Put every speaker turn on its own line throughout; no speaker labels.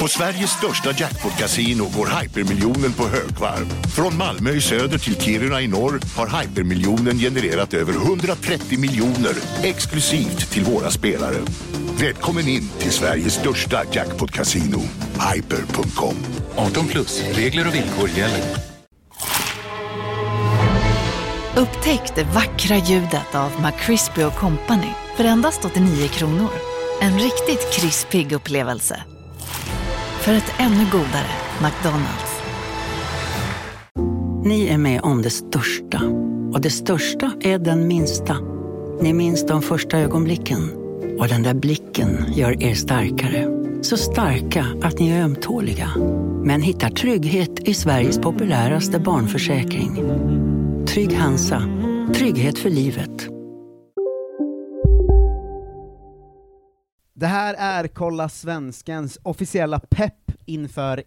På Sveriges största jackpot-kasino går hypermiljonen på högvarv. Från Malmö i söder till Kiruna i norr har hypermiljonen genererat över 130 miljoner exklusivt till våra spelare. Välkommen in till Sveriges största jackpot-kasino, hyper.com.
18 plus, regler och villkor gäller.
Upptäck det vackra ljudet av McCrispy Company för endast 89 kronor. En riktigt krispig upplevelse. För ett ännu godare McDonalds.
Ni är med om det största. Och det största är den minsta. Ni minns de första ögonblicken. Och den där blicken gör er starkare. Så starka att ni är ömtåliga. Men hittar trygghet i Sveriges populäraste barnförsäkring. Trygg Hansa. Trygghet för livet.
Det här är Kolla Svenskens officiella pepp inför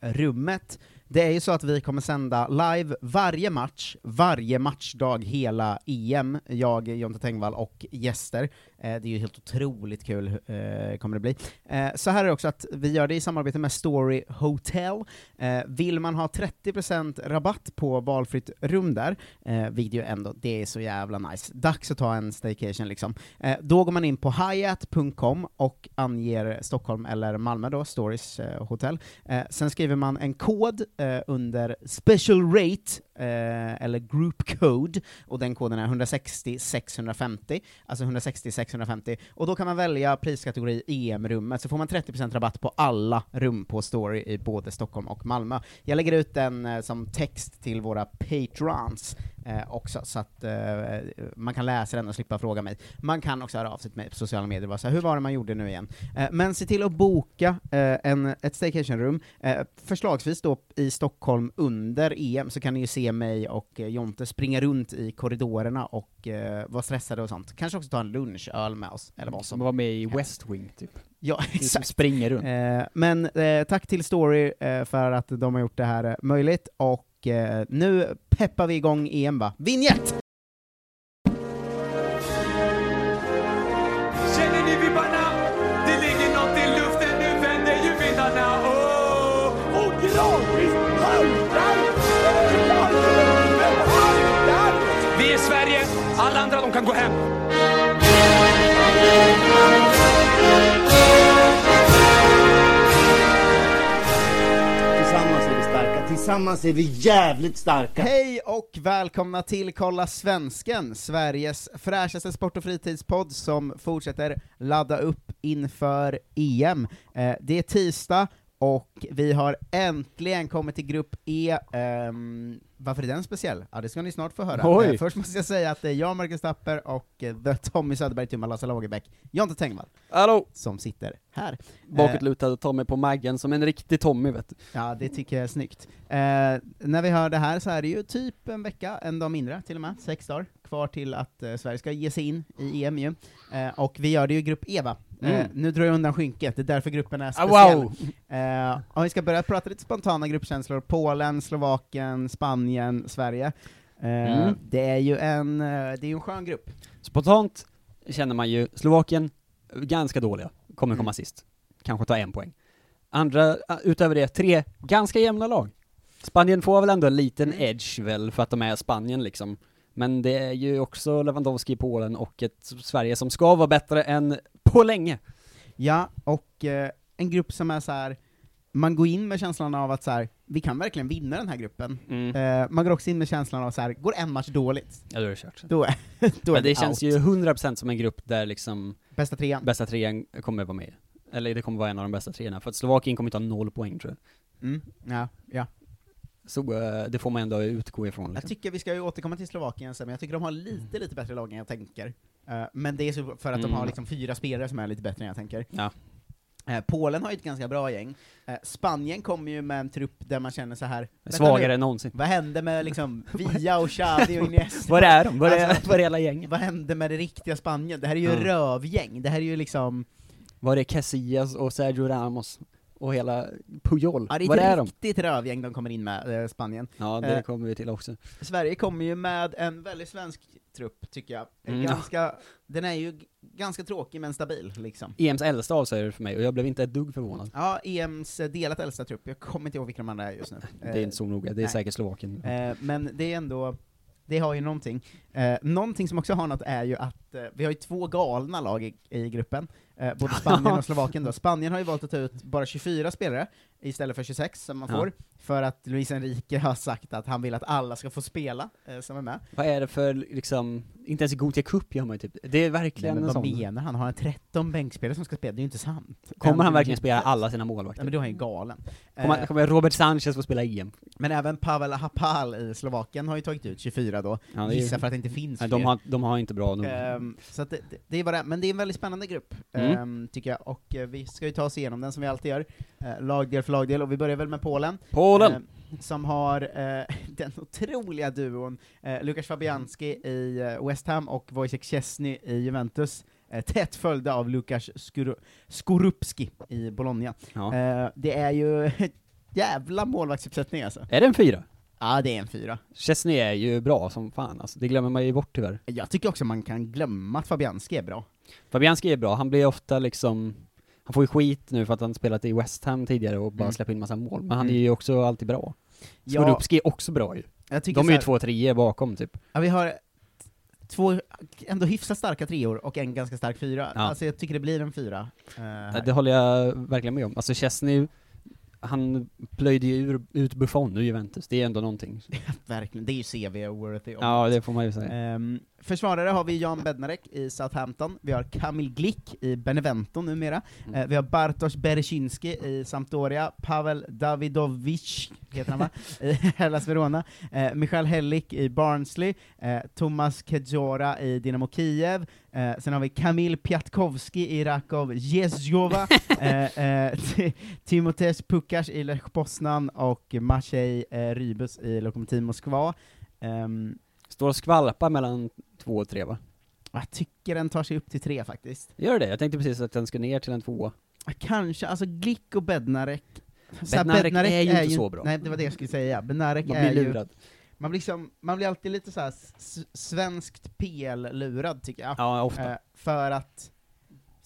EM-rummet. Det är ju så att vi kommer sända live varje match, varje matchdag hela EM, jag, Jonte Tengvall och gäster. Eh, det är ju helt otroligt kul, eh, kommer det bli. Eh, så här är det också att vi gör det i samarbete med Story Hotel. Eh, vill man ha 30% rabatt på valfritt rum där, eh, vilket ju ändå, det är så jävla nice. Dags att ta en staycation liksom. Eh, då går man in på hyatt.com och anger Stockholm eller Malmö då, Stories eh, hotell. Eh, sen skriver man en kod eh, under special rate, eh, eller group code, och den koden är 160 650, alltså 160 650, och då kan man välja priskategori EM-rummet, så får man 30% rabatt på alla rum på Story i både Stockholm och Malmö. Jag lägger ut den eh, som text till våra patrons eh, också, så att eh, man kan läsa den och slippa fråga mig. Man kan också höra av sig till mig på sociala medier och bara så här, hur var det man gjorde nu igen? Eh, men se till att boka eh, en, ett staycationrum, eh, förslagsvis då i Stockholm under EM, så kan ni ju se mig och eh, Jonte springa runt i korridorerna och eh, vara stressade och sånt. Kanske också ta en lunchöl med oss, eller vad
Som
som.
var med i West Wing, typ.
Ja,
Det är Mm. som
Alltså, exakt.
springer runt.
Eh, men eh, tack till Story eh, för att de har gjort det här eh, möjligt, och eh, nu peppar vi igång EM va? Vignett!
Känner ni vibbarna? Det ligger något i luften, nu vänder ju vindarna. Åh! Och gradvis haltar Sverige! haltar! Vi är Sverige, alla andra de kan gå hem.
Tillsammans är vi starka, tillsammans är vi jävligt starka!
Hej och välkomna till Kolla Svensken, Sveriges fräschaste sport och fritidspodd som fortsätter ladda upp inför EM. Eh, det är tisdag och vi har äntligen kommit till grupp E. Ehm, varför är den speciell? Ja, det ska ni snart få höra.
Oj.
Eh, först måste jag säga att det är jag, Marcus Tapper, och eh, The Tommy Söderberg, Tumma Lasse Lagerbäck, Jonte Tengvall,
Hallå!
som sitter här. Eh,
Bakåtlutad Tommy på Maggen som en riktig Tommy vet du.
Ja, det tycker jag är snyggt. Eh, när vi hör det här så är det ju typ en vecka, en dag mindre till och med, sex dagar kvar till att eh, Sverige ska ge sig in i EM ju. Eh, och vi gör det ju i grupp E va? Eh, nu drar jag undan skynket, det är därför gruppen är speciell.
Mm. Ah, wow!
Eh, om vi ska börja prata lite spontana gruppkänslor, Polen, Slovakien, Spanien, Sverige. Eh,
Mm.
Det är ju en, eh, det är ju en skön grupp.
Spontant känner man ju Slovakien, ganska dåliga, kommer
Mm.
komma sist. Kanske ta en poäng. Andra, ah, utöver det, tre ganska jämna lag. Spanien får väl ändå en liten
Mm.
edge väl, för att de är Spanien liksom. Men det är ju också Lewandowski i Polen och ett Sverige som ska vara bättre än på länge.
Ja, och eh, en grupp som är så här. man går in med känslan av att så här, vi kan verkligen vinna den här gruppen.
Mm.
Eh, man går också in med känslan av så här, går en match dåligt,
Ja, då är det kört.
då är, då är
Men det
vi
känns
out.
ju 100% som en grupp där liksom
Bästa trean.
bästa trean kommer vara med. Eller det kommer vara en av de bästa treorna, för att Slovakien kommer ta noll poäng tror jag.
Mm. Ja, ja.
Så eh, det får man ändå utgå ifrån
Jag
liksom.
tycker vi ska ju återkomma till Slovakien sen, men jag tycker de har lite, lite bättre lag än jag tänker. Eh, men det är så för att de
Mm.
har liksom fyra spelare som är lite bättre än jag tänker.
Ja.
Eh, Polen har ju ett ganska bra gäng. Eh, Spanien kommer ju med en trupp där man känner så här. "Vänta nu,
Svagare än någonsin.
Vad hände med liksom Via och Xavi och Iniesta?
Var är de? Var är,
Alltså-
var är hela gänget?
Vad hände med det riktiga Spanien? Det här är ju
Mm.
rövgäng, det här är ju liksom...
Var är Casillas och Sergio Ramos och hela Puyol?
Ja, det
var
är
är
ett
de?
riktigt rövgäng de kommer in med, eh, Spanien.
Ja, det
Eh,
kommer vi till också.
Sverige kommer ju med en väldigt svensk trupp, tycker jag. En
Mm.
Ganska, den är ju g- ganska tråkig men stabil liksom.
EMs E äldsta avslöjade det för mig och jag blev inte ett dugg förvånad.
Ja, EMs delat äldsta trupp, jag kommer inte ihåg vilka de andra är just nu.
Det är inte så noga, det är
nej.
säkert Slovakien.
Eh, men det är ändå, det har ju någonting. Eh, någonting som också har något är ju att, eh, vi har ju två galna lag i, i gruppen, eh, både Spanien och Slovakien då. Spanien har ju valt att ta ut bara 24 spelare istället för 26 som man
Ja.
får, för att Luis Enrique har sagt att han vill att alla ska få spela eh, som är med.
Vad är det för liksom, inte ens i Gothia Cup gör man ju typ, det är verkligen
men
en
vad
sån.
menar han? Har han 13 bänkspelare som ska spela? Det är ju inte sant.
Kommer han
Äntligen-
verkligen spela alla sina
Nej,
målvakter?
men då är han ju galen.
Kommer,
Eh,
kommer Robert Sanchez få spela E EM?
Men även Pavel Hapal i Slovakien har ju tagit ut 24 då,
Ja, det är-
gissa för att det inte finns
Nej,
fler.
de har, de har inte bra nog.
Ehm, så att det, det- det är vad det är. men det är en väldigt spännande grupp,
Mm.
ehm, tycker jag, och eh, vi ska ju ta oss igenom den som vi alltid gör, eh, lagdel för lagdel, och vi börjar väl med Polen,
Polen!
ehm, som har eh, den otroliga duon eh, Lukas Fabianski i eh, West Ham och Wojciech Szczesny i Juventus, eh, tätt följda av Lukas Skuru- Skorupski i Bologna.
ja.
Eh, det är ju ett jävla målvaktsuppsättning alltså.
är det en fyra?
Ja, det är en fyra.
Chesney är ju bra som fan alltså, det glömmer man ju bort tyvärr.
Jag tycker också man kan glömma att Fabianski är bra.
Fabianski är bra, han blir ofta liksom, han får ju skit nu för att han spelat i West Ham tidigare och bara
Mm.
släpper in massa mål, men han
Mm.
är ju också alltid bra. Skorupski är också bra ju.
jag tycker
De
så
är ju
här-
två treor bakom typ.
Ja, vi har t- två ändå hyfsat starka treor och en ganska stark fyra.
Ja.
Alltså jag tycker det blir en fyra. eh, här.
Det håller jag verkligen med om. Alltså Chesney, han plöjde ju ur, ut Buffon ur Juventus, det är ändå någonting.
Verkligen, det är ju CV-worthy.
Ja, det får man ju säga.
Ehm, försvarare har vi Jan Bednarek i Southampton, vi har Kamil Glick i Benevento numera,
Mm.
Eh, vi har Bartosz Berezinski i Sampdoria, Pavel Davidovic, heter han va? I Hellas Verona, eh, Michael Hellick i Barnsley, eh, Thomas Kedjora i Dynamo Kiev, eh, sen har vi Kamil Piatkowski i Rakov Jezjova, eh, eh, Ti- Timotes Pukas i Lech Poznan och Maciej eh, Rybus i Lokomotiv Moskva. Ehm,
Står och skvalpar mellan två och tre va?
jag tycker den tar sig upp till tre faktiskt.
Gör det? Jag tänkte precis att den ska ner till en tvåa.
Kanske, alltså Glick och Bednarek. Så här,
Bednarek är ju inte så bra.
Nej, det var det jag skulle säga. Bednarek
Man
är
blir
ju...
lurad.
Man blir, liksom, man blir alltid lite så här s- svenskt PL-lurad tycker jag.
Ja, ofta.
Eh, för att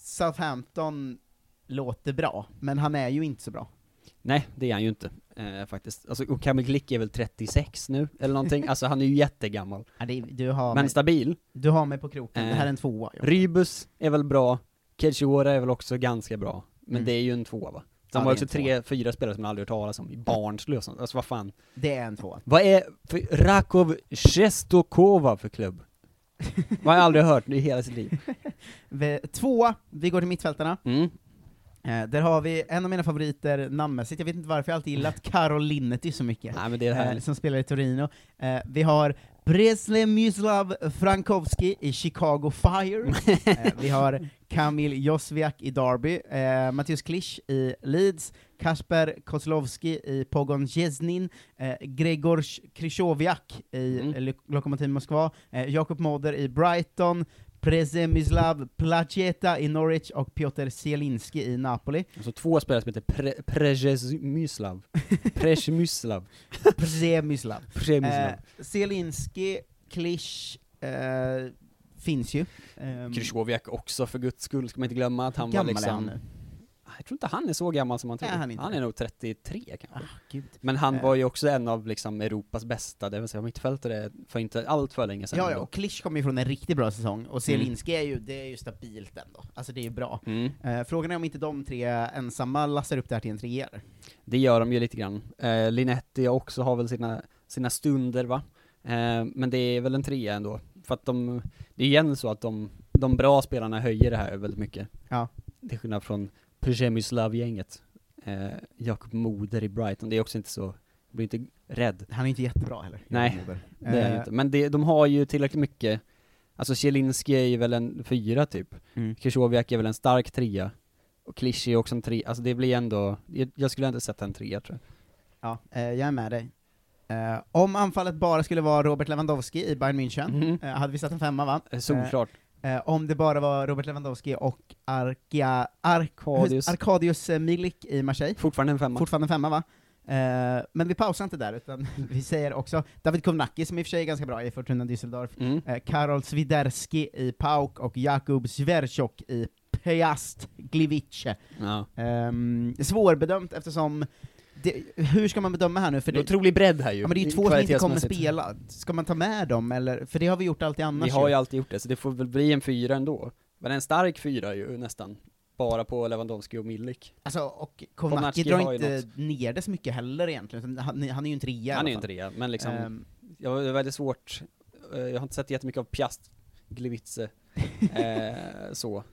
Southampton låter bra, men han är ju inte så bra.
Nej, det är han ju inte eh, faktiskt. Alltså, och Kamil Glick är väl 36 nu, eller någonting. Alltså han är ju jättegammal.
Ja, det, du, har
Men
mig,
stabil.
du har mig på kroken, det här är
Eh,
en tvåa. Ja.
Rybus är väl bra, Kedjora är väl också ganska bra, men
Mm.
det är ju en tvåa va?
Ja,
Sen
det
var
är
också
en tvåa.
tre, fyra spelare som man aldrig hört talas om, i Barnsley och sånt. Alltså vad fan.
Det är en tvåa.
Vad är för Rakov Sjestokova för klubb? Vad har jag aldrig hört i hela sitt liv.
Vi, tvåa, vi går till mittfältarna.
Mm.
Eh, där har vi en av mina favoriter namnmässigt, jag vet inte varför jag alltid gillat Karol Linnety så mycket.
Nej men det är
eh,
härligt.
som spelar i Torino. Eh, vi har Bresle Myslav Frankowski i Chicago Fire, eh, vi har Kamil Josviak i Derby, eh, Mattias Klisch i Leeds, Kasper Kozlowski i Pogon Jeznin, eh, Gregor Krychowiak i
Mm.
mm. Lokomotiv Moskva, eh, Jakob Moder i Brighton, Prezemislav Placeta i Norwich och Piotr Zielinski i Napoli.
Och så två spelare som heter Pre- Prejezmyslav. Prejezmyslav.
Prezemislav.
Prejezmyslav.
Eh, Zielinski, Klisch, eh, finns ju. Ehm,
Krychowiak också för guds skull, ska man inte glömma att han var
gammal
liksom...
är han nu.
Jag tror inte han är så gammal som man tror.
Nej, han är inte
han
det.
är nog 33 kanske.
Ah, Gud.
Men han
Eh.
var ju också en av liksom Europas bästa, det vill säga mittfältare, för inte allt för länge sedan.
Ja, ja,
ändå.
och Klisch kommer ju från en riktigt bra säsong, och Zielinski är ju, det är ju stabilt ändå. Alltså det är ju bra.
Mm.
Eh, frågan är om inte de tre ensamma lassar upp det här till en trea. eller?
Det gör de ju lite grann. Eh, Linetti också har väl sina, sina stunder va? Eh, men det är väl en trea ändå. För att de, det är igen så att de, de bra spelarna höjer det här väldigt mycket.
Ja.
Till skillnad från Przemyslav-gänget. Eh, Jakob Moder i Brighton, det är också inte så, blir inte rädd.
Han är ju inte jättebra heller.
Nej,
Moberg.
Det är
Eh,
ju inte. Men det, de har ju tillräckligt mycket, alltså Zielinski är ju väl en fyra typ,
Mm.
Krychowiak är väl en stark trea, och Klisch är också en trea, alltså det blir ändå, jag, jag skulle ändå sätta en trea tror jag.
Ja, eh, jag är med dig. Eh, om anfallet bara skulle vara Robert Lewandowski i Bayern München,
Mhm.
eh, hade vi satt en femma va?
Eh, Solklart.
Eh, om det bara var Robert Lewandowski och Arkia, Ark,
Arkadius.
Arkadius eh, Milik i Marseille,
Fortfarande en femma.
fortfarande en femma va? Eh, men vi pausar inte där, utan vi säger också David Kovnacki, som i och för sig är ganska bra i Fortuna Düsseldorf,
Mm.
eh, Karol Swiderski i PAOK och Jakub Zverchok i Piast Gliwice.
Ja.
Ehm, svårbedömt eftersom, det, hur ska man bedöma här nu? För
Det är
det,
otrolig bredd här ju.
ja, men det är ju två som inte kommer
kvalitetsmässigt.
spela, ska man ta med dem eller? För det har vi gjort alltid annars
Vi har ju
ju.
alltid gjort det, så det får väl bli en fyra ändå. Men en stark fyra ju nästan. Bara på Lewandowski och Milik.
Alltså, och
Kovnacki
Kovnacki drar
har ju
inte ner det så mycket heller egentligen, utan han, han är ju en trea i
Han
alla
är ju inte
fall.
det, men liksom,
Ehm,
jag det är väldigt svårt, eh, jag har inte sett jättemycket av Piast, Gliwice, eh, så.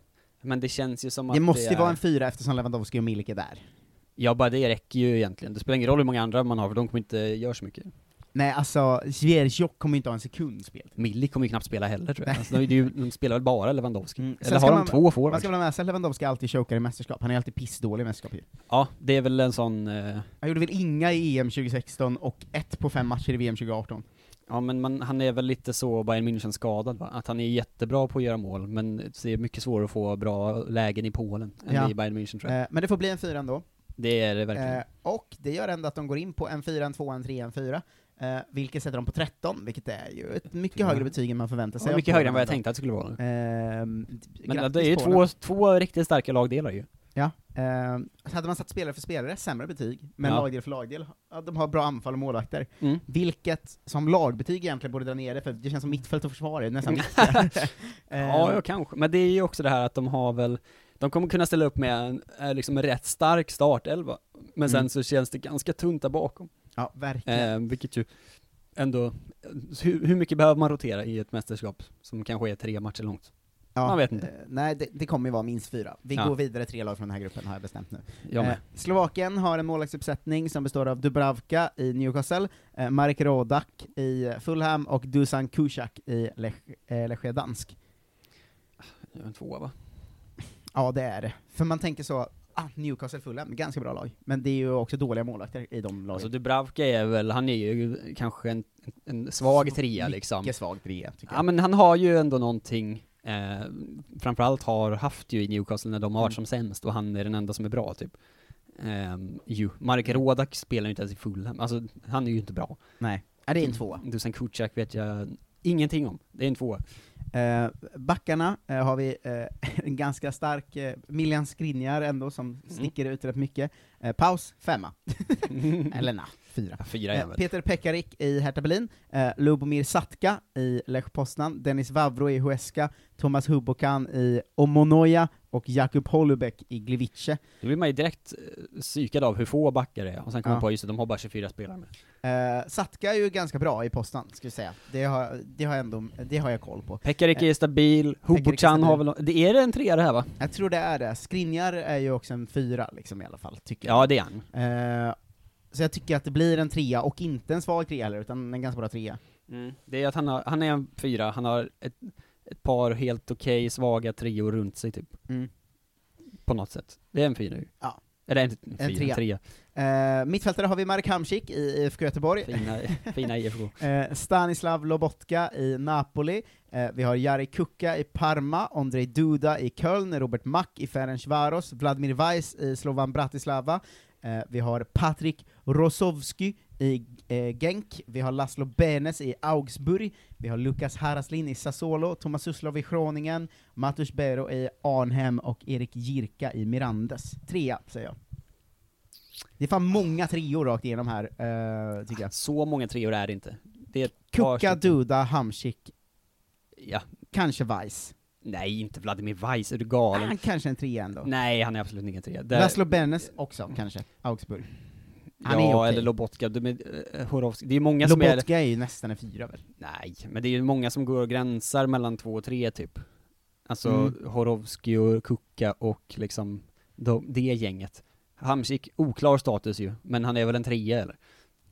Men det känns ju som att
det måste
det
ju
är...
vara en fyra eftersom Lewandowski och Milik är där.
Ja, bara det räcker ju egentligen. Det spelar ingen roll hur många andra man har, för de kommer inte göra så mycket.
Nej, alltså Zverchok kommer inte ha en sekund spel.
Millik kommer ju knappt spela heller tror jag. Alltså, de, det är ju- de spelar väl bara Lewandowski.
Mm. Sen
Eller
ska
har de
man-
två
Man
forwards?
ska väl ha med sig att Lewandowski alltid chokar i mästerskap, han är alltid pissdålig i mästerskap ju.
Ja, det är väl en sån, eh,
Han gjorde väl inga i EM 2016 och ett på fem matcher i VM 2018.
ja men man, han är väl lite så Bayern München skadad va? Att han är jättebra på att göra mål, men det är mycket svårare att få bra lägen i Polen än
Ja.
i Bayern München tror jag.
Eh, men det får bli en fyra ändå.
Det är det verkligen.
Eh, och det gör ändå att de går in på en fyra, en tvåa, en trea, en fyra. Eh, vilket sätter dem på 13, vilket är ju ett mycket
Ja.
högre betyg än man förväntar sig.
Ja,
av
mycket högre än vad jag
Polen
tänkte att det skulle vara.
ändå. Eh,
Men
grattis,
det är ju
Polen.
två, två riktigt starka lagdelar ju.
Ja. Eh, så hade man satt spelare för spelare, sämre betyg, men
Ja.
lagdel för lagdel, ja, de har bra anfall och målvakter.
Mm.
Vilket, som lagbetyg egentligen borde dra ner det, för det känns som mittfält och försvar är nästan eh,
Mm. Ja, ja, kanske. Men det är ju också det här att de har väl, de kommer kunna ställa upp med en eh, liksom en rätt stark startelva. Men sen
Mm.
så känns det ganska tunt där bakom.
ja, verkligen.
Eh, vilket ju ändå, eh, hur, hur mycket behöver man rotera i ett mästerskap som kanske är tre matcher långt?
ja,
man vet inte.
eh, nej, det, det kommer ju vara minst fyra. Vi
Ja.
går vidare tre lag från den här gruppen, har jag bestämt nu.
Jag med.
Eh, Slovakien har en målvaktsuppsättning som består av Dubravka i Newcastle, eh, Marek Rodak i Fulham och Dusan Kusak i Lech- eh, Lechia Dansk.
Jag är Eh, en tvåa va?
Ja, det är det. För man tänker så, ah, Newcastle Fulham, ganska bra lag. Men det är ju också dåliga målvakter i de lagen.
Alltså Dubravka är väl, han är ju kanske en, en svag trea liksom.
Mycket svag trea, tycker
Ja
jag.
men han har ju ändå någonting, eh, framförallt har haft ju i Newcastle när de har varit som sämst och han är den enda som är bra typ. Ehm, ju. Marek Rodak spelar ju inte ens i Fulham, alltså han är ju inte bra.
Nej, ja, det är en tvåa.
Dusan Kucak vet jag ingenting om, det är en tvåa.
Eh, backarna eh, har vi eh, en ganska stark eh, Miljan Skriniar ändå, som
Mm.
sticker ut rätt mycket. Eh, paus, femma. Eller na, fyra.
Fyra är
Eh,
jag väl.
Peter Pekarik i Hertha Berlin, eh, Lubomir Satka i Lech Poznan, Dennis Vavro i Huesca, Thomas Hubokan i Omonoja och Jakub Holubek i Gliwice.
Då blir man ju direkt eh, psykad av hur få backar det är, och sen kommer
Ja.
man på just det, de har bara 24 spelare med.
Eh, Satka är ju ganska bra i Poznan, ska vi säga. Det har, det har, jag, ändå, det har jag koll på.
Pekarik är stabil, Hubuchan
stabil.
har väl, det Eh, är det en trea det här va?
Jag tror det är det. Skriniar är ju också en fyra, liksom i alla fall, tycker jag.
Ja det är han.
Eh, så jag tycker att det blir en trea, och inte en svag trea heller, utan en ganska bra trea. Mm.
Det är att han, har, han är en fyra, han har ett, ett par helt okej svaga treor runt sig typ.
Mm.
På något sätt. Det är en fyra ju.
Ja.
Eller en, en, fyra,
trea.
trea. trea.
Eh, mittfältare har vi Marek Hamsik i IFK Göteborg.
Fina, fina IFK.
Eh, Stanislav Lobotka i Napoli, eh, vi har Jari Kuka i Parma, Andrei Duda i Köln, Robert Mack i Ferencvaros, Vladimir Weiss i Slovan Bratislava, eh, vi har Patrik Rosowski i eh, Genk, vi har Laszlo Benes i Augsburg, vi har Lukas Haraslin i Sassuolo, Thomas Suslov i Groningen, Matus Bero i Arnhem och Erik Jirka i Mirandes. Trea, säger jag. Det är fan många treor rakt igenom här, eh, tycker jag.
Så många treor är det inte. Det är ett
Kuka,
par stycken-
Duda, Hamsik,
Ja.
kanske Weiss.
Nej, inte Vladimir Weiss, är du galen?
Han kanske en trea ändå.
Nej, han är absolut ingen trea. Det-
Laszlo Bennes också, kanske. Augsburg. Han
ja,
är okej.
eller Lobotka, de är, eh, Horovski. Det är många som är...
Lobotka är ju nästan en fyra väl?
Nej, men det är ju många som går och gränsar mellan två och tre typ. Alltså
Mm.
Horovski och Kuka och liksom de, det gänget. Hamsik, oklar status ju, men han är väl en trea eller?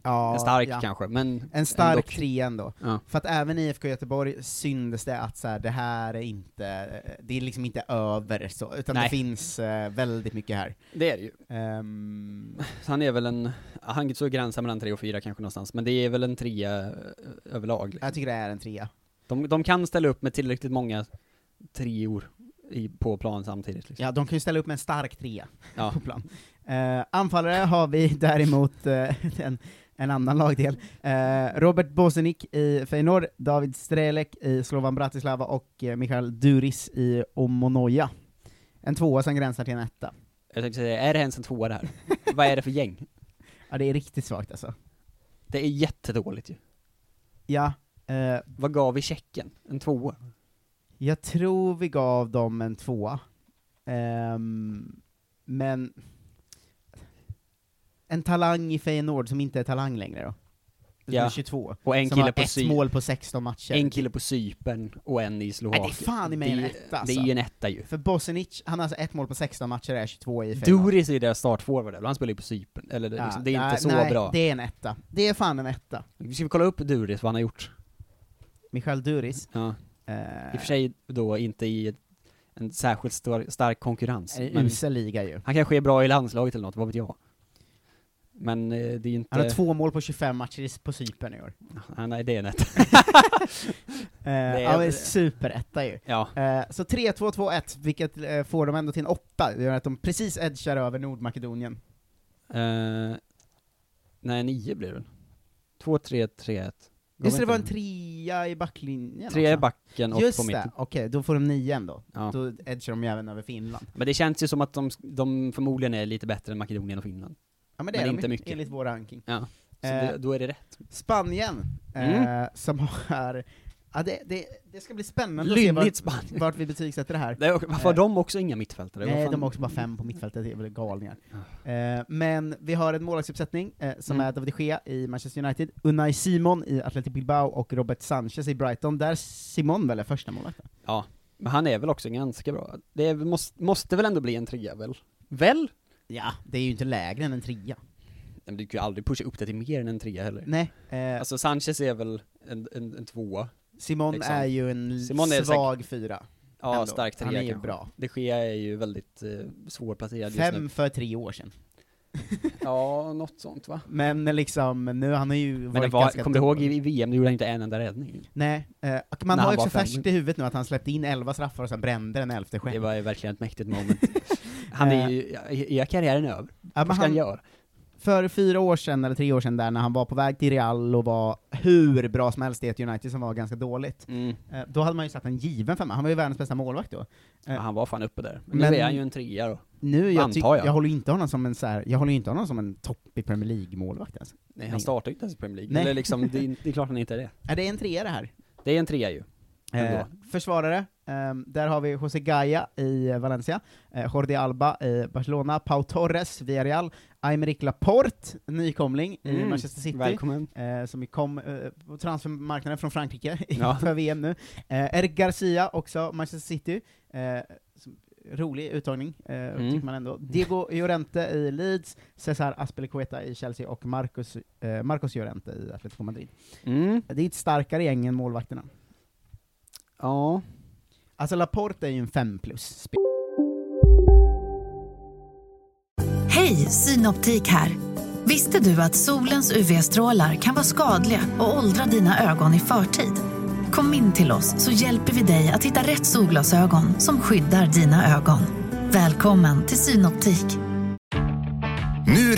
Ja,
en stark
ja.
kanske, men...
En stark
ändock.
trea ändå.
Ja.
För att även i IFK Göteborg syndes det att så här, det här är inte, det är liksom inte över så, utan det
Nej.
finns eh, väldigt mycket här.
Det är det ju.
Ehm,
Så han är väl en, han så gränsar mellan tre och fyra kanske någonstans, men det är väl en trea eh, överlag. Liksom.
jag tycker det är en trea.
De, de kan ställa upp med tillräckligt många treor i, på plan samtidigt liksom.
Ja, de kan ju ställa upp med en stark trea
Ja.
på plan. Eh, Eh, anfallare har vi däremot eh, en, en annan lagdel. Eh, Robert Bosenik i Feyenoord, David Strelek i Slovan Bratislava och eh, Michael Duris i Omonoja. En tvåa som gränsar till en etta.
Jag tänkte säga, är det ens en tvåa det här? Vad är det för gäng?
Ja, det är riktigt svagt alltså.
Det är jättedåligt ju.
Ja, eh,
Vad gav vi Tjeckien? En tvåa?
jag tror vi gav dem en tvåa. Ehm, men... En talang i Feyenoord som inte är talang längre då. Som
Ja.
är 22.
Och en
som har
kille på
ett
Sy-
mål på 16 matcher.
En kille på Cypern och en i Slovakien.
Nej, det är fan i mig en
Det är-
etta, alltså.
Det är ju en etta ju.
För Bosenic, han har alltså ett mål på 16 matcher och är 22 i Feyenoord.
Doris är ju deras startforward, eller? han spelar ju på Cypern. Eller det,
Ja,
liksom, det är
nej,
inte så
nej,
bra.
det är en etta. Det är fan en etta.
Ska vi kolla upp Duris, vad han har gjort?
Michael Duris.
Ja.
Eh,
I och för sig då inte i ett- en särskilt stor, stark konkurrens.
är en
men
usel liga ju.
Han kanske är bra i landslaget eller något, vad vet jag. Men eh, det är ju inte...
Han har två mål på 25 matcher i- på Cypern i år.
Ja, nej, det är en etta.
Eh, ja, men superetta ju.
Ja.
Eh, så 3-2-2-1, vilket eh, får dem ändå till en åtta. Det gör att de precis edgar över Nordmakedonien.
Eh, nej, nio blir det väl? Två, tre, tre, ett.
Just det, det var en trea i backlinjen
Tre i
också.
backen och på
Just
mitten.
det, okej, då får de nio ändå.
Ja.
Då edgar de ju även över Finland.
Men det känns ju som att de, de förmodligen är lite bättre än Makedonien och Finland.
Ja men det
Men
är de
inte
ju,
mycket.
enligt vår ranking.
Ja. Så
Eh.
det, då är det rätt.
Spanien, eh,
Mm.
som har... Ja, det, det, det ska bli spännande
Lynnigt
att se
Spanien.
vart, vart vi betygsätter det här.
Nej, och Varför har de också inga mittfältare? Vad
Nej,
fan- Ah.
de har också bara fem på mittfältet, det är väl galningar. Eh, men vi har en målvaktsuppsättning eh, som
Mm.
är David de Gea i Manchester United, Unai Simon i Athletic Bilbao och Robert Sanchez i Brighton, där Simon väl är första målvakten?
Ja, men han är väl också ganska bra. Det är, måste, måste väl ändå bli en trea väl? Väl?
Ja, det är ju inte lägre än en trea.
Nej, men Du kan ju aldrig pusha upp det till mer än en trea heller.
Nej, eh,
Alltså Sanchez är väl en, en, en tvåa.
Simon
liksom.
är ju en
Simon är
svag fyra.
Ja,
ändå.
stark trea
Han är ju
kanske.
bra.
De Gea är ju väldigt eh, svårplacerad just nu.
Fem för tre år sedan.
Ja, något sånt va?
Men liksom, nu han har ju
Men det
varit
var,
ganska
kom du ihåg
dålig.
i i VM, du gjorde inte en enda räddning.
Nej, eh, och man
När
har ju
han
också
var fem.
färskt i huvudet nu att han släppte in 11 straffar och sen brände den elfte själv.
Det var ju verkligen ett mäktigt moment. Han är ju, är är karriären över?
Eh. ja, men
Vad ska han
han,
göra?
för fyra år sedan, eller tre år sedan där, när han var på väg till Real och var hur bra som helst i ett United som var ganska dåligt,
Mm.
eh, då hade man ju satt en given femma. Han var ju världens bästa målvakt då.
Ja, Han var fan uppe där. Men,
Men-
nu är han ju en trea då.
Nu, jag,
Antar
tycker-
jag.
jag håller ju inte honom som en så här, jag håller ju inte honom som en topp i Premier League-målvakt ens.
Nej,
Nej.
han startar ju inte ens i Premier League.
Nej.
Eller liksom, det, är, det är klart han inte är det.
Är det en trea det här?
Det är en trea ju.
Eh,
Ändå.
försvarare, ehm, där har vi José Gaya i eh, Valencia, eh, Jordi Alba i Barcelona, Pau Torres, Villarreal, Aymeric Laporte, nykomling i
Mm,
Manchester City,
Välkommen.
eh, som ju kom eh, på transfermarknaden från Frankrike
Ja.
för VM nu. Eh, Eric Garcia också, Manchester City. Eh, som- rolig uttagning, eh,
Mm.
tycker man ändå. Diego Llorente i Leeds, Cesar Azpilicueta i Chelsea och Marcus, eh, Marcos Llorente i Atletico Madrid.
Mm.
Det är ett starkare gäng än målvakterna.
Ja.
Alltså Laporte är ju en 5 plus.
Hej, Synoptik här. Visste du att solens UV-strålar kan vara skadliga och åldra dina ögon i förtid? Kom in till oss så hjälper vi dig att hitta rätt solglasögon som skyddar dina ögon. Välkommen till Synoptik.
Nu är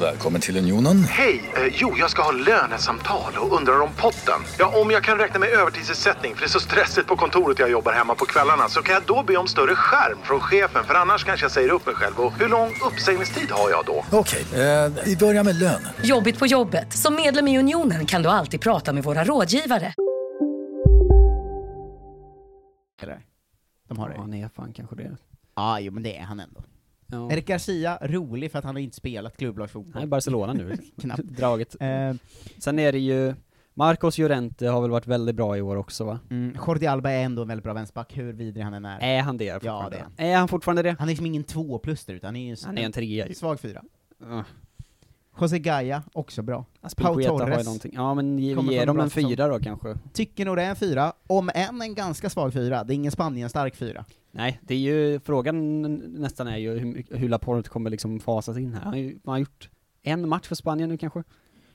Välkommen till Unionen.
Hej! Eh, jo, jag ska ha lönesamtal och undrar om potten. Ja, om jag kan räkna med övertidsersättning för det är så stressigt på kontoret jag jobbar hemma på kvällarna så kan jag då be om större skärm från chefen för annars kanske jag säger upp mig själv. Och hur lång uppsägningstid har jag då?
Okej, eh, vi börjar med lön.
Jobbigt på jobbet. Som medlem i Unionen kan du alltid prata med våra rådgivare.
Eller? De har det.
Han är fan kanske det.
Ja, jo men det är han ändå.
Ja.
Eric Garcia, rolig för att han har inte spelat
Han är i
klubblagsfotboll.
Barcelona nu.
Knappt.
Draget.
Eh,
Sen är det ju, Marcos Llorente har väl varit väldigt bra i år också va?
mm, Jordi Alba är ändå en väldigt bra vänsterback, hur vidrig han än är.
Är han det fortfarande?
det är han.
är han fortfarande det?
Han är liksom ingen två plus där, utan han är ju s-
Han är en trea ju.
svag fyra.
Ja.
José Gaya, också bra.
Aspilicueta
Pau
har ju
Torres.
någonting. Ja men ge,
Kommer
ge
från
dem
bra
en fyra då kanske.
Tycker nog det är en fyra, om än en ganska svag fyra. Det är ingen Spanien-stark fyra.
Nej, det är ju, frågan nästan är ju hur, mycket- hur Laporte kommer liksom fasas in här. Han har ju- man har gjort en match för Spanien nu kanske.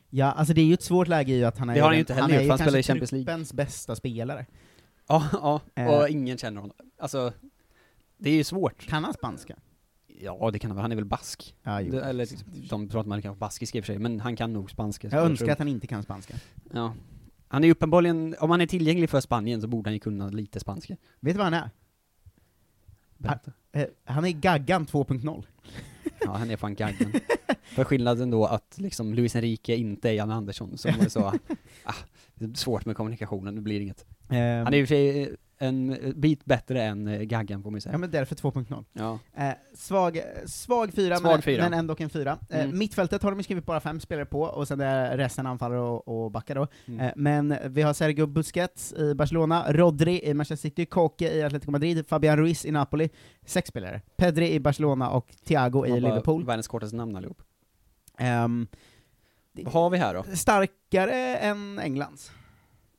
Ja, alltså det är ju ett svårt läge i att han är
Det har han
den-
ju inte heller
han är
gjort,
ju
för han
kanske
spelar i Champions League.
truppens bästa spelare.
Ja, ja,
Eh.
och ingen känner honom. Alltså, det är ju svårt.
Kan han spanska?
Ja, det kan han väl. Han är väl bask?
Ja, jo.
Det- Eller, de tror att man kan vara baskisk i och för sig, men han kan nog spanska. skulle
Jag önskar
tro.
att han inte kan spanska.
Ja. Han är ju uppenbarligen, om han är tillgänglig för Spanien så borde han ju kunna lite spanska.
Vet du vad han är? Han, eh, han är Gaggan 2.0.
Ja, han är fan gaggen. för skillnaden då att liksom Luis Enrique inte är Jan Andersson, som var så, ah, det är svårt med kommunikationen, det blir inget.
Ehm.
Han är i och för sig eh, en bit bättre än eh, Gaggan får man ju säga.
Ja men därför 2.0.
Ja.
Eh, svag, svag fyra,
Svag
men,
fyra.
men ändå en fyra. Eh,
Mm.
Mittfältet har de ju skrivit bara fem spelare på, och sen är resten anfallare och, och backar då.
Mm.
Eh, men vi har Sergio Busquets i Barcelona, Rodri i Manchester City, Koke i Atletico Madrid, Fabian Ruiz i Napoli, sex spelare. Pedri i Barcelona och Thiago i
Han bara-
Liverpool.
Världens kortaste namn allihop.
Ehm,
Vad har vi här då?
starkare än Englands.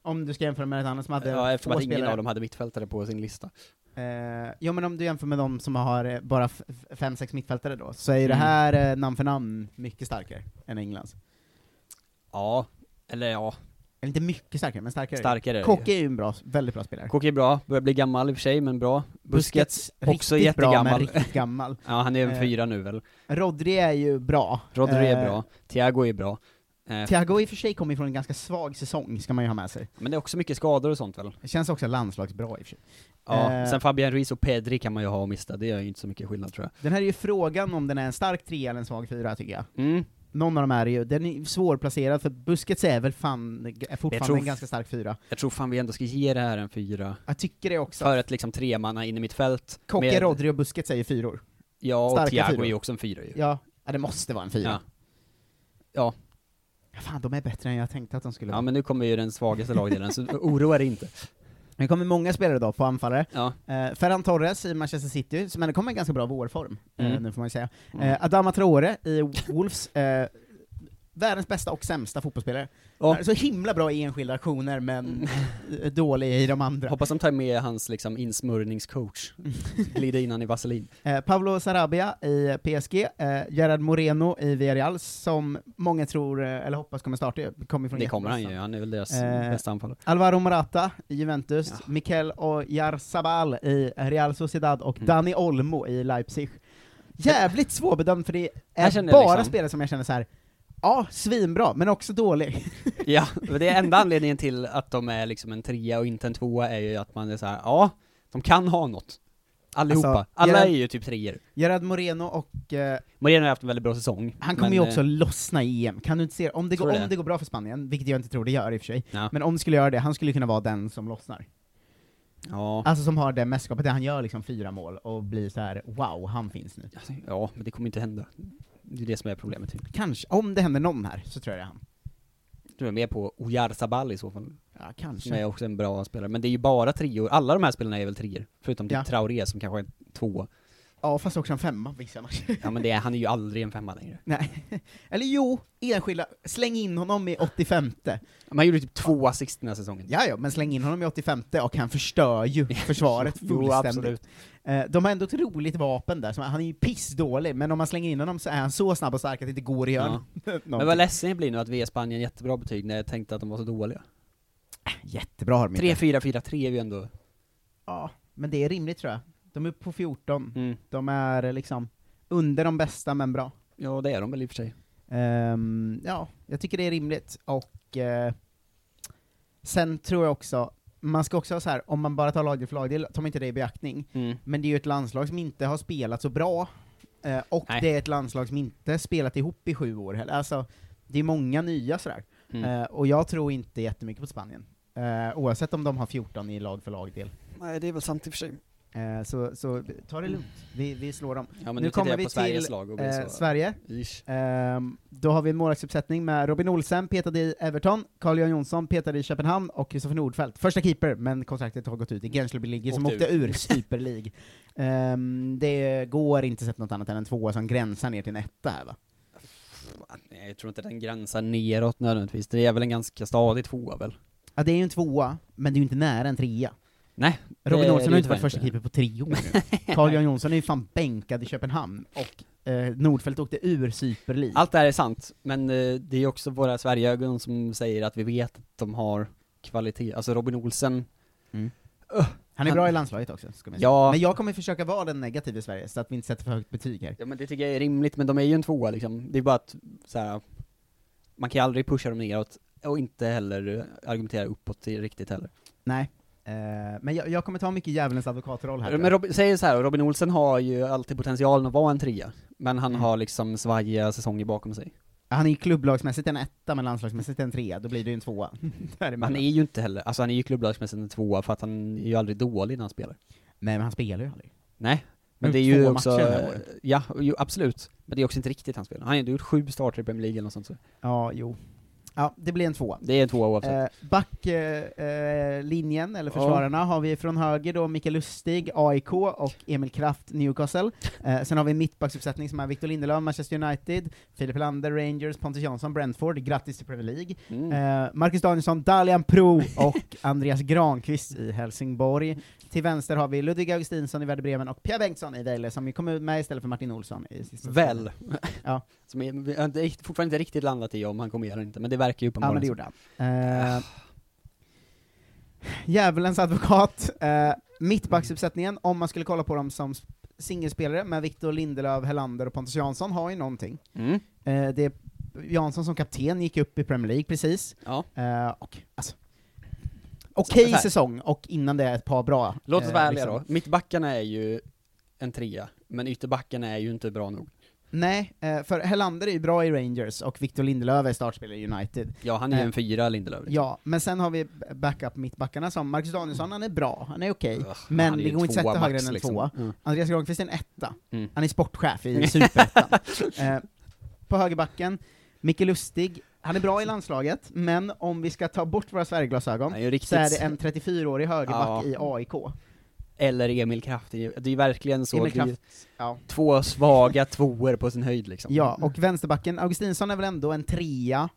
Om du ska jämföra med ett annat som hade
Ja, eftersom
två
att ingen
spelare.
av dem hade mittfältare på sin lista.
Eh, jo men om du jämför med de som har eh, bara f- f- fem, sex mittfältare då, så är ju det
Mm.
här eh, namn för namn mycket starkare än Englands.
Ja, eller ja,
Eller inte mycket starkare, men starkare.
Starkare är det
Koke är ju en bra, väldigt bra spelare.
Koke är bra, börjar bli gammal i och för sig, men bra. Busquets, också
riktigt bra, men
jättegammal.
riktigt gammal.
ja, han är en
Eh,
fyra nu väl.
Rodri är ju bra.
Rodri är
Eh,
bra, Thiago är bra. Eh,
Thiago i och för sig kommer ju från en ganska svag säsong, ska man ju ha med sig.
men det är också mycket skador och sånt väl?
Det känns också landslagsbra i och för sig.
Ja,
Eh,
sen Fabian Ruiz och Pedri kan man ju ha och mista, det gör ju inte så mycket skillnad tror
Den här är ju frågan om den är en stark trea eller en svag fyra, tycker jag.
jag. Mm.
Någon av dem är det ju, den är svårplacerad, för Busquets är väl fan, är fortfarande
tror-
en ganska stark fyra.
Jag tror fan vi ändå ska ge det här en fyra.
Jag tycker det också.
För ett liksom tremanna in i mitt fält.
Koke,
med-
Rodri och Busquets är ju fyror.
Ja, och
starka
Thiago
fyror.
är ju också en fyra ju.
Ja, ja det måste vara en fyra.
Ja. Ja.
Ja, Fan, de är bättre än jag tänkte att de skulle
ja,
vara.
men nu kommer ju den svagaste lagdelen, så oroa dig inte.
Det kommer många spelare då på anfallare.
Ja.
Eh, Ferran Torres i Manchester City, som ändå kommer i ganska bra vårform, eh,
Mm.
nu får man ju säga.
Mm.
Eh, Adama Traore i Wolves, eh, världens bästa och sämsta fotbollsspelare.
Ja. Mm.
Eh, Så himla bra i enskilda aktioner, men eh, dålig i de andra.
Hoppas de tar med hans liksom insmörjningscoach.
Mm.
Glida in han i vaselin.
Eh, Pablo Sarabia i PSG, eh, Gerard Moreno i Villarreal, som många tror, eh, eller hoppas kommer starta, ju, kommer från
Det kommer han
Göteborg.
ju, han är väl deras
Eh,
bästa anfallare.
Alvaro Morata i Juventus,
Ja.
Mikel Oyarzabal i Real Sociedad
Mm.
och Dani Olmo i Leipzig. Jävligt svårbedömd för det
Här
är
känner
bara
jag liksom-
spelare som jag känner så här. ja, svinbra, men också dålig.
Ja, men det är enda anledningen till att de är liksom en trea och inte en tvåa är ju att man är så här, ja, de kan ha något. Allihopa.
Alltså,
Alla
Gerard-
är ju typ treor.
Gerard Moreno och... eh,
Moreno har haft en väldigt bra säsong.
han kommer
men,
ju också
eh,
lossna i EM, kan du inte se om det,
Tror
går,
du
om
det?
det går bra för Spanien, vilket jag inte tror det gör i och för sig,
Ja.
men om det skulle göra det, han skulle kunna vara den som lossnar.
Ja,
Alltså som har det mästerskapet där han gör liksom fyra mål och blir så här: wow, han finns nu.
alltså, ja, men det kommer inte hända. Det är det som är problemet. typ.
Kanske, om det händer någon här, så tror jag det är han.
Du är med på Oyarzabal i så fall,
Ja,
som är
kanske.
också en bra spelare. Men det är ju bara treor, alla de här spelarna är väl treor? Förutom
Ja.
typ Traoré som kanske är två.
Ja, fast också en femma vissa matcher.
Ja men det är, han är ju aldrig en femma längre.
Nej. Eller jo, enskilda, släng in honom i 85
Man gjorde typ två assist den här säsongen.
Ja, ja, men släng in honom i 85 och han förstör ju försvaret
Jo,
fullständigt.
absolut.
Eh, De har ändå ett roligt vapen där, som- han är ju pissdålig, men om man slänger in honom så är han så snabb och stark att det inte går att göra
Men
ja.
vad ledsen jag blir nu att vi är Spanien jättebra betyg när jag tänkte att de var så dåliga.
Jättebra har de inte.
3-4-4-3 är ju ändå...
Ja, men det är rimligt tror jag. De är på 14,
Mm.
de är eh, liksom under de bästa, men bra.
Ja, det är de väl i och för sig.
Ehm, ja, jag tycker det är rimligt, och eh, sen tror jag också, man ska också ha så här, om man bara tar lagdel för lagdel, tar man inte det i beaktning,
Mm.
men det är ju ett landslag som inte har spelat så bra, eh, och
Nej.
det är ett landslag som inte spelat ihop i sju år heller, alltså det är många nya sådär,
Mm.
Eh, och jag tror inte jättemycket på Spanien, eh, oavsett om de har 14 i lag för lagdel.
Nej, det är väl sant i och för sig.
Eh, så, så ta det lugnt, vi, vi slår dem.
Ja, men nu, tittar jag på Sveriges lag och blir
eh,
så...
Sverige.
Ish.
Ehm, då har vi en målvaktsuppsättning med Robin Olsen petade i Everton, Carl-Johan Jonsson petade i Köpenhamn och Kristoffer Nordfeldt. Första keeper, men kontraktet har gått ut i Gensleby League som
Åkte
åkte ur Super League. Ehm, det går inte sett något annat än en tvåa som gränsar ner till en etta här va?
Nej, Jag tror inte den gränsar neråt nödvändigtvis. Det är väl en ganska stadig tvåa väl?
Ja, det är ju en tvåa, men det är ju inte nära en trea.
Nej.
Robin
det-
Olsen
det
har inte varit
var
första keeper på tre år nu. Carl Jan Jonsson är ju fan bänkad i Köpenhamn, och eh, Nordfeldt åkte ur Superlig.
Allt det här är sant, men eh, det är också våra Sverigeögon som säger att vi vet att de har kvalitet. Alltså Robin Olsen, Öh,
Han är bra i landslaget också, ska man säga.
Ja.
Mm. Men jag kommer försöka vara den negativa i Sverige, så att vi inte sätter för högt betyg här.
Ja men det tycker jag är rimligt, men de är ju en tvåa liksom. Det är bara att så här, man kan ju aldrig pusha dem neråt, och inte heller eh, argumentera uppåt till- riktigt heller.
Nej. Eh, men jag, jag kommer ta mycket djävulens advokatroll här. tror
Men
jag.
Robin, säger så här, Robin Olsen har ju alltid potentialen att vara en trea, men
Mm.
han har liksom svajiga säsonger bakom sig.
Han är ju klubblagsmässigt en etta, men landslagsmässigt en trea, då blir det ju en tvåa. Däremellan.
Men han är ju inte heller, alltså han är ju klubblagsmässigt en tvåa för att han är ju aldrig dålig när han spelar.
Nej men han spelar ju aldrig.
Nej. Men
Gjort
det är ju
Mm, två
också,
matcher det här året.
ja, jo, absolut. Men det är också inte riktigt hans spel. Han har ju ändå gjort sju starter i Premier League eller något sånt så.
Ja, jo. Ja, det blir en tvåa.
Det är en tvåa oavsett.
Eh, Backlinjen, eh, linjen, eller försvararna, har vi från höger då Mikael Lustig, AIK, och Emil Kraft, Newcastle. Eh, sen har vi en mittbacksuppsättning som är Victor Lindelöf, Manchester United, Filip Lander, Rangers, Pontus Jansson, Brentford, grattis till Premier League. Eh, Marcus Danielsson, Dalian Pro och Andreas Granqvist i Helsingborg. Till vänster har vi Ludvig Augustinsson i Werder Bremen och Pia Bengtsson i Vejle, som ju kom ut med istället för Martin Olsson i sista
Väl.
Ja.
Som är, vi har inte rikt- fortfarande inte riktigt landat i om han kommer göra det eller inte, men alltså- det verkar ju
Ja,
uppenbarligen
men det gjorde
så.
han. Eh, Djävulens advokat. Eh, mittbacksuppsättningen, om man skulle kolla på dem som sp- singelspelare, med Victor Lindelöf, Helander och Pontus Jansson, har ju någonting.
Mm.
Eh, det är Jansson som kapten gick upp i Premier League precis.
Ja.
Eh, och, alltså, Okej
Så här.
säsong, och innan det ett par bra.
Låt oss
eh,
vara ärliga
liksom.
då. Mittbackarna är ju en trea, men ytterbackarna är ju inte bra nog.
Nej, eh, för Helander är ju bra i Rangers, och Victor Lindelöf är startspelare i United.
Ja, han är ju
Eh,
en fyra, Lindelöf. liksom. Mm.
Ja, men sen har vi backup mittbackarna som Marcus Danielsson, han är bra, han är okej,
han är
men
ju
det går inte
tvåa
att sätta högre
max,
än en
liksom.
tvåa.
Mm.
Andreas Granqvist är en etta,
Mm.
han är sportchef i Superettan. eh, på högerbacken, Micke Lustig, han är bra i landslaget, men om vi ska ta bort våra Sverigeglasögon,
Han är ju riktigt-
så är det en 34-årig högerback
Ja.
i AIK.
Eller Emil Kraft, det är ju- det är ju verkligen så.
Emil
Det är ju
Kraft, ja.
Två svaga tvåor på sin höjd liksom.
Ja, och vänsterbacken, Augustinsson är väl ändå en trea,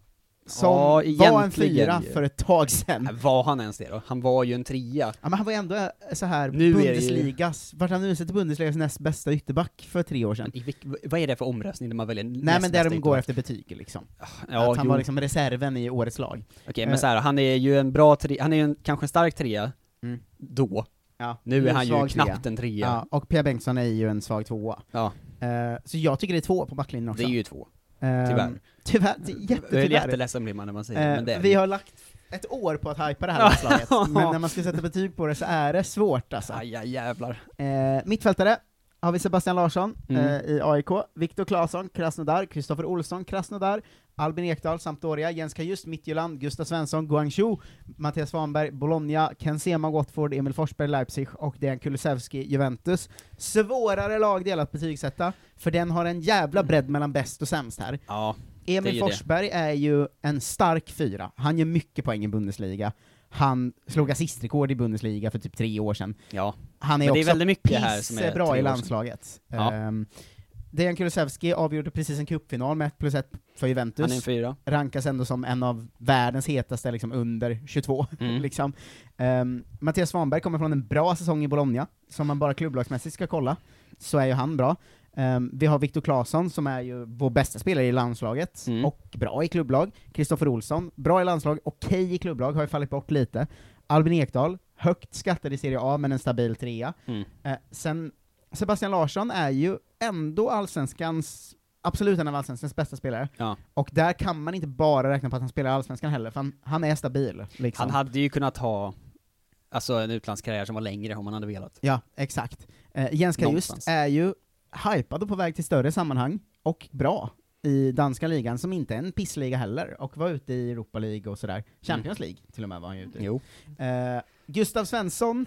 som
Ja,
var en
egentligen
fyra
ju.
för ett tag sedan.
Äh, Var han ens det då? Han var ju en trea.
Ja, men han var ju ändå eh, så här
Nu är det ju-
Bundesligas, vart han utsedd till Bundesligas näst bästa ytterback för tre år sedan.
I vilk- vad är det för omröstning där man väljer
Nej men där de går efter betyg liksom.
Ja,
att han
jo.
var liksom eh. reserven i årets lag.
Okej, men så här, han är ju en bra trea, han är ju en, kanske en stark trea,
Mm.
då.
Ja,
Nu är han ju
svag
knappt en trea.
Ja, och Pia Bengtsson är ju en svag tvåa.
Ja.
Eh, så jag tycker det är två på backlinjen också.
Det är ju två.
Ehm,
tyvärr.
Tyvärr, det är
Jag är
jättetyvärr.
jätteledsen blir man när man säger det,
Eh,
men det är
vi har lagt ett år på att hypa det här landslaget, men när man ska sätta betyg på det så är det svårt alltså.
Aj, aj, jävlar.
Eh, mittfältare har vi Sebastian Larsson
Mm.
eh, i AIK, Viktor Claesson, Krasnodar, Kristoffer Olsson, Krasnodar, Albin Ekdal, Sampdoria, Jens Kajust, Midtjylland, Gustav Svensson, Guangzhou, Mattias Svanberg, Bologna, Ken Sema, Watford, Emil Forsberg, Leipzig och Dejan Kulusevski, Juventus. Svårare lagdel att betygsätta, för den har en jävla bredd mellan bäst och sämst här.
Ja, det är
Emil
ju
Forsberg är ju en stark fyra, han gör mycket poäng i Bundesliga, han slog assistrekord i Bundesliga för typ tre år sedan.
det. Ja.
Han är
Men det är
också
väldigt mycket här som är tre år
bra i
sedan.
landslaget.
Ja.
Ehm, Dejan Kulusevski avgjorde precis en cupfinal med 1 plus 1 för Juventus.
Han är en fyra.
Rankas ändå som en av världens hetaste liksom, under 22.
Mm.
liksom. Ehm, Mattias Svanberg kommer från en bra säsong i Bologna, som man bara klubblagsmässigt ska kolla, så är ju han bra. Ehm, vi har Viktor Claesson som är ju vår bästa spelare i landslaget,
Mm.
och bra i klubblag. Kristoffer Olsson, bra i landslag, okej i klubblag, har ju fallit bort lite. Albin Ekdal, högt skattad i Serie A, men en stabil trea.
Mm.
Eh, sen, Sebastian Larsson är ju ändå allsvenskans, absolut en av allsvenskans bästa spelare.
Ja.
Och där kan man inte bara räkna på att han spelar i allsvenskan heller, för han, han är stabil. Liksom.
Han hade ju kunnat ha, alltså en utlandskarriär som var längre om han hade velat.
Ja, exakt. Eh, Jens Kajust
Någonstans.
är ju hypad och på väg till större sammanhang, och bra, i danska ligan, som inte är en pissliga heller, och var ute i Europa League och sådär. Champions
Mm.
League till och med var han ju ute i.
Jo.
Eh, Gustav Svensson,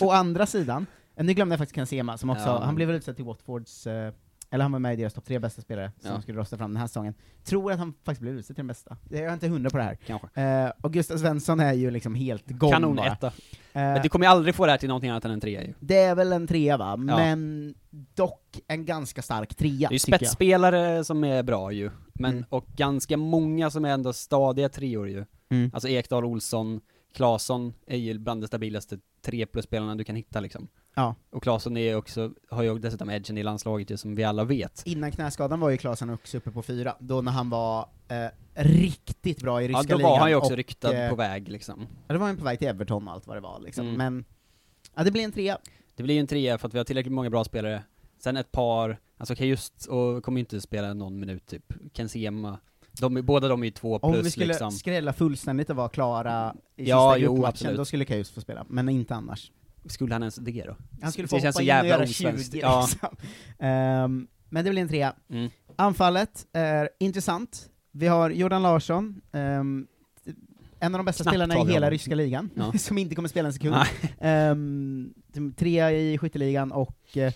å andra sidan, eh, nu glömde jag faktiskt Ken Sema, som också,
Ja.
han blev väl utsedd till Watfords, eh, eller han var med i deras topp tre bästa spelare, som
Ja.
skulle rösta fram den här säsongen. Tror att han faktiskt blev utsedd till den bästa. Jag är inte hundra på det här.
Kanske.
Eh, och Gustav Svensson är ju liksom helt gone
Kanon
bara.
etta.
Eh,
Men du kommer ju aldrig få det här till någonting annat än en trea ju.
det är väl en trea va, men dock en ganska stark trea,
det är ju
tycker jag.
spetsspelare som är bra ju, men,
Mm.
och ganska många som är ändå stadiga treor ju.
Mm.
Alltså Ekdal Olsson, Claesson är ju bland de stabilaste 3 plus-spelarna du kan hitta liksom.
Ja.
Och Claesson är ju också, har ju dessutom edgen i landslaget ju, som vi alla vet.
Innan knäskadan var ju Klasen också uppe på fyra, då när han var eh, riktigt bra i ryska
Ja, då
ligan.
var han ju också
och,
ryktad
eh,
på väg liksom.
Ja, då var han på väg till Everton och allt vad det var liksom,
Mm.
men ja, det blir en trea.
Det blir ju en trea för att vi har tillräckligt många bra spelare. Sen ett par, alltså okej just och kommer ju inte spela någon minut typ. Ken Sema, de, är- båda de är ju två
Om
plus
vi skulle
liksom.
skrälla fullständigt och vara klara i
Ja,
sista
jo,
gruppmatchen,
absolut.
då skulle Kajus få spela, men inte annars.
Skulle han ens det då?
Han skulle
Det
få
känns
hoppa
så
in
jävla
och göra 20
osvenskt.
liksom.
Ja.
Ehm, men det blir en trea.
Mm.
Anfallet är intressant. Vi har Jordan Larsson, ehm, en av de bästa
Knappt
spelarna
har
i
vi
hela
honom.
ryska ligan,
Ja.
som inte kommer spela en sekund. Ehm, t- trea i skytteligan och eh,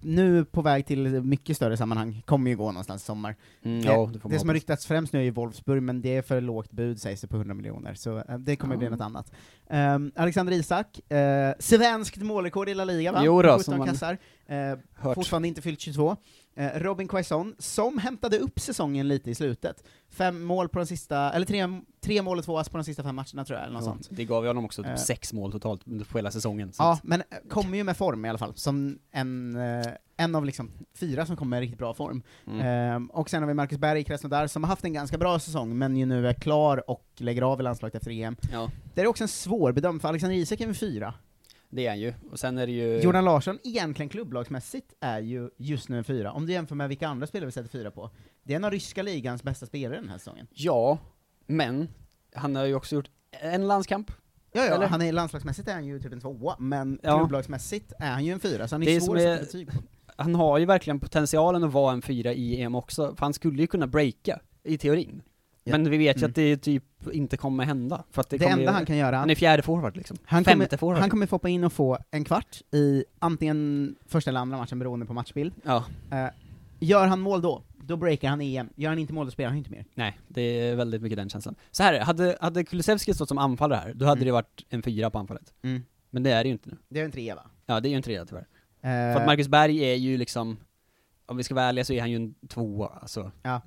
nu på väg till mycket större sammanhang, kommer ju gå någonstans i sommar.
Mm,
Eh,
ja, det får man
som har
hoppas.
ryktats främst nu är ju Wolfsburg, men det är för lågt bud sägs det på 100 miljoner, så eh, det kommer
Ja.
bli något annat. Ehm, Alexander Isak, eh, svenskt målrekord i La Liga va?
Jo då,
17
som man
kassar. Eh,
hört.
Fortfarande inte fyllt 22. Eh, Robin Quaison, som hämtade upp säsongen lite i slutet. Fem mål på de sista, eller tre, tre mål och två ass på de sista fem matcherna tror jag, eller något
Ja,
sånt.
det gav ju honom också typ
Eh.
sex mål totalt under hela säsongen. Så
Ja,
att-
men eh, kommer ju med form i alla fall, som en, eh, en av liksom fyra som kommer med riktigt bra form.
Mm.
Ehm, och sen har vi Marcus Berg i Krasnodar som har haft en ganska bra säsong, men ju nu är klar och lägger av i landslaget efter EM.
Ja.
Det är också en svår bedömning för Alexander Isak är en fyra.
det är han ju. Och sen är det ju...
Jordan Larsson, egentligen klubblagsmässigt, är ju just nu en fyra. Om du jämför med vilka andra spelare vi sätter fyra på. Det är en av ryska ligans bästa spelare den här säsongen.
Ja, men han har ju också gjort en landskamp.
Ja, ja,
Eller?
han är, landslagsmässigt är han ju typ en tvåa, men
Ja.
klubblagsmässigt är han ju en fyra, så han är
Det
det
är
svår
som
att
är-
sätta betyg på.
Han har ju verkligen potentialen att vara en fyra i EM också, för han skulle ju kunna breaka, i teorin.
Ja.
Men vi vet ju
Mm.
att det typ inte kommer hända. För att det
Det,
kommer
enda
ju,
han kan göra,
Han är fjärde forward liksom.
han
Femte
kommer,
forward.
han kommer få hoppa in och få en kvart i antingen första eller andra matchen beroende på matchbild.
Ja,
Eh, gör han mål då, då breakar han EM. Gör han inte mål, då spelar han inte mer.
nej, det är väldigt mycket den känslan. Så här är det, hade, hade Kulusevski stått som anfallare här, då hade
Mm.
det varit en fyra på anfallet.
Mm.
Men det är det ju inte nu.
Det är en trea va?
Ja, det är ju en trea tyvärr.
Eh,
För att Marcus Berg är ju liksom, om vi ska vara ärliga så är han ju en tvåa alltså.
Ja.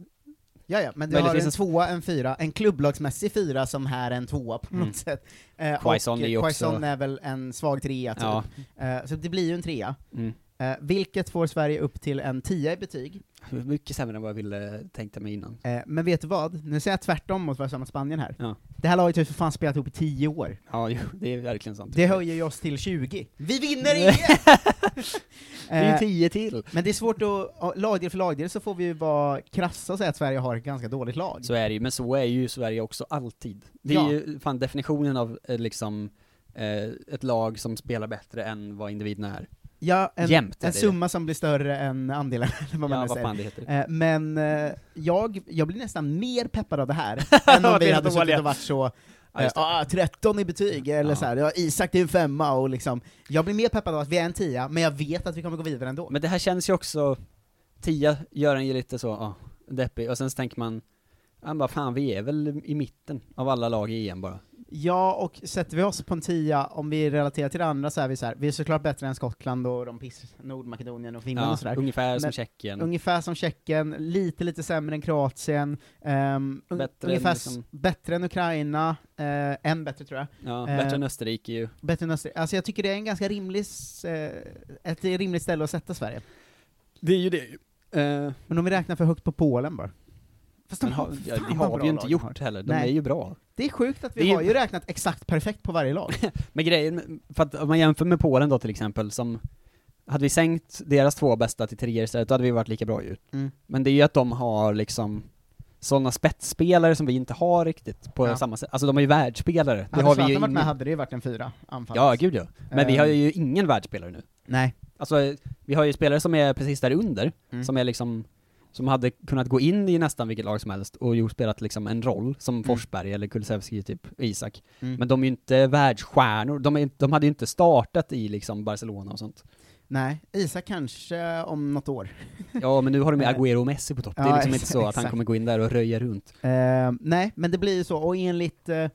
Ja, ja, men du har
Möjligtvis
en
en-
tvåa, en fyra, en klubblagsmässig fyra som här är en tvåa på något
Mm.
sätt. Eh, och
Quaison är ju också-
Quaison är väl en svag trea typ.
Ja.
Eh, så det blir ju en trea.
Mm.
Eh, vilket får Sverige upp till en tia i betyg.
Mycket sämre än vad jag ville tänka mig innan.
Eh, men vet du vad? Nu säger jag tvärtom mot vad jag sa mot Spanien här.
Ja.
Det här laget har ju för fan spelat ihop i tio år.
Ja, jo, det är verkligen sant.
Det höjer ju oss till 20. Vi vinner
Nej.
igen!
Det är ju
Eh,
tio till.
men det är svårt att, ja, lagdel för lagdel så får vi ju vara krassa och säga att Sverige har ett ganska dåligt lag.
Så är det ju, men så är ju Sverige också alltid. Det är
Ja.
ju fan definitionen av eh, liksom eh, ett lag som spelar bättre än vad individerna är.
Ja, en,
Jämnt är
en
det.
summa som blir större än andelen, eller vad man
ja,
nu
vad
säger.
fan det heter.
Eh, Men eh, jag, jag blir nästan mer peppad av det här, än om
Att vi
vi
är
hade suttit
dåliga.
och varit så eh,
Ja, just det.
ah, 13 i betyg, eller
Ja.
så här, ja, Isak det är en femma, och liksom, jag blir mer peppad av att vi är en tia, men jag vet att vi kommer gå vidare ändå.
Men det här känns ju också, Tia gör en ju lite så, ja, deppig, och sen så tänker man, han bara fan vi är väl i mitten av alla lag i EM bara.
Ja, och sätter vi oss på en tia, om vi relaterar till det andra så är vi så här, vi är såklart bättre än Skottland och de piss, Nordmakedonien och Finland
Ja,
och sådär.
ungefär som
Men-
Tjeckien.
Ungefär som Tjeckien, lite lite sämre än Kroatien, ehm, un-
Bättre än
ungefär s-
liksom-
bättre än Ukraina, uh, än bättre tror jag.
ja,
eh,
bättre än Österrike ju.
Bättre än Österrike. Alltså jag tycker det är en ganska rimlig, s- eh, ett rimligt ställe att sätta Sverige.
Det är ju det ju.
Men om vi räknar för högt på Polen bara. Fast de
men
har,
Eh, har, ja,
fan
det
vad
har
bra
vi ju inte
lag
gjort
de har.
heller, de
Nej.
är ju bra.
Det är sjukt att vi
Det är ju-
har ju räknat exakt perfekt på varje lag.
Men grejen, med- för att om man jämför med Polen då till exempel, som hade vi sänkt deras två bästa till treor istället, då hade vi varit lika bra ju.
Mm.
Men det är ju att de har liksom sådana spetsspelare som vi inte har riktigt på
Ja.
samma sätt. Alltså de är ju världsspelare, det
hade
har vi ju
Alltså, Zlatan varit med
ingen...
hade det ju varit en fyra anfall.
Ja, gud ja. Men vi
Ehm.
har ju ingen världsspelare nu.
Nej.
Alltså, eh, vi har ju spelare som är precis där under,
Mm.
som är liksom, som hade kunnat gå in i nästan vilket lag som helst och ju spelat liksom en roll, som Forsberg eller Kulusevski typ, och Isak.
Mm.
Men de är ju inte världsstjärnor, de, är, de hade ju inte startat i liksom Barcelona och sånt.
Nej, Isak kanske om något år.
Ja, men nu har de ju
Eh.
Agüero och Messi på topp, det
Ja,
är liksom inte så att han
exakt.
kommer gå in där och röja runt.
Eh, nej, men det blir ju så, och enligt, eh,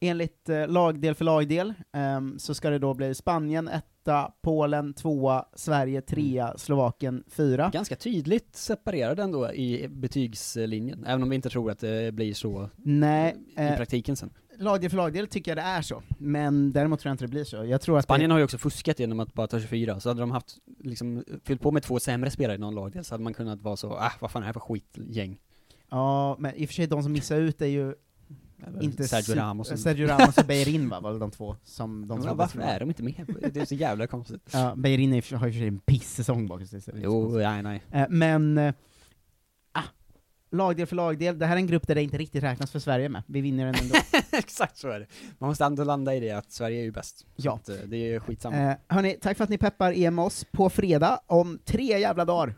enligt eh, lagdel för lagdel ehm, så ska det då bli Spanien etta, Polen tvåa,
Mm.
Sverige trea, Slovakien fyra.
Ganska tydligt separerade ändå i betygslinjen, även om vi inte tror att det blir så
Nej,
i
eh,
praktiken sen.
lagdel för lagdel tycker jag det är så, men däremot tror jag inte det blir så. Jag tror att
Spanien
det...
har ju också fuskat genom att bara ta 24, så hade de haft, liksom, fyllt på med två sämre spelare i någon lagdel så hade man kunnat vara så, ah, vad fan är det här för skitgäng?
Ja, men i och för sig de som missar ut är ju inte
Sergio
su-
Ramos och-
Sergio Ramos och Beirin va, var väl de två som de
Men
trodde
varför
skulle-
är de inte med? Det är så jävla konstigt.
Ja, Beirin är i och för sig- har ju för sig en pissäsong bakom sig. så det är inte så
Jo,
konstigt.
nej, nej.
Eh, Men, eh, ah, lagdel för lagdel, det här är en grupp där det inte riktigt räknas för Sverige med. Vi vinner den ändå.
Exakt så är det. Man måste ändå landa i det att Sverige är ju bäst.
Ja.
Så att, eh, det är skitsamma.
Eh, hörni, tack för att ni peppar EM oss. På fredag, om tre jävla dagar,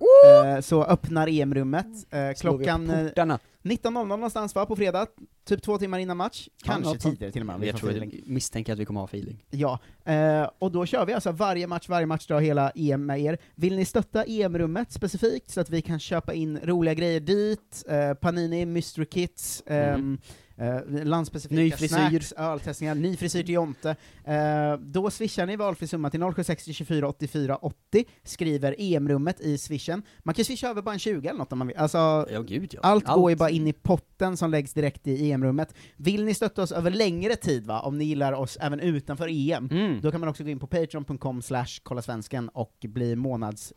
eh, så öppnar EM-rummet. Eh,
Slår vi upp
klockan eh,
portarna.
19.00 någonstans va, på fredag? Typ två timmar innan match? Kanske
Ja, något sånt.
tidigare till och med. om vi
Jag
får
tror
feeling.
jag misstänker att vi kommer ha feeling.
Ja, eh, och då kör vi alltså varje match, varje matchdag, hela EM med er. Vill ni stötta EM-rummet specifikt så att vi kan köpa in roliga grejer dit, eh, Panini, Mystery Kits, ehm, eh, landspecifika
Mm. Ny frisyr.
snacks, öltestningar, ny frisyr till Jonte. Eh, då swishar ni valfri summa till 0760 24 84 80, skriver EM-rummet i swishen. Man kan swisha över bara en 20 eller något om man vill. Alltså,
Ja, gud ja.
allt, går ju bara in i potten som läggs direkt i EM-rummet. Vill ni stötta oss över längre tid, va? om ni gillar oss även utanför EM,
Mm.
då kan man också gå in på patreon.com slash kollasvensken och bli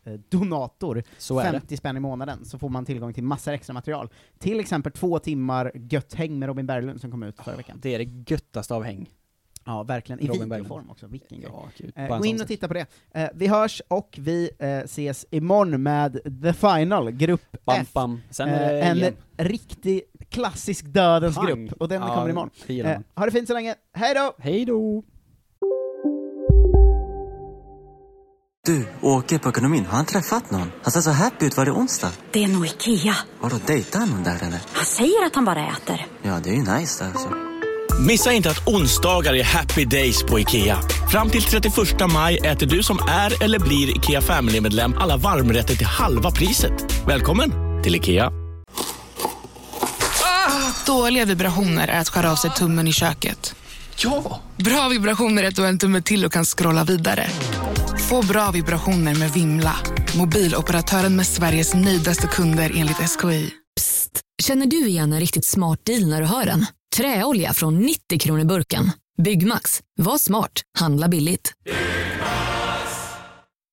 månadsdonator.
Så är det.
50 spänn i månaden, så får man tillgång till massor extra material. Till exempel två timmar gött häng med Robin Berglund som kom ut förra veckan.
Det är det göttaste av häng.
Ja, verkligen. I
Robin
videoform
Berglund.
också, vilken grej.
Ja, gud.
Eh,
Bara en
Gå
sån
in och
sak.
titta på det. Eh, Vi hörs, och vi eh, ses imorgon med The Final, Grupp
Bam,
F.
bam. Sen
Eh,
är det
en
EM.
riktig klassisk dödens
Pang.
grupp, och den
Ja,
kommer imorgon.
det gillar
Eh,
man.
ha det fint så länge, hej då!
Hej då!
Du, åker på ekonomin. Har han träffat någon? Han ser så happy ut. Var det onsdag?
Det är nog Ikea.
Vadå, dejtar han någon där eller?
Han säger att han bara äter.
Ja, det är ju nice där alltså.
Missa inte att onsdagar är happy days på IKEA. Fram till 31 maj äter du som är eller blir IKEA Family-medlem alla varmrätter till halva priset. Välkommen till IKEA.
Dåliga vibrationer är att skära av sig tummen i köket. Ja! Bra vibrationer är att du har en tumme till och kan scrolla vidare. Få bra vibrationer med Vimla. Mobiloperatören med Sveriges nöjdaste kunder enligt SKI.
Psst! Känner du igen en riktigt smart deal när du hör den? Träolja från 90 kronor burken. Byggmax. Var smart. Handla billigt.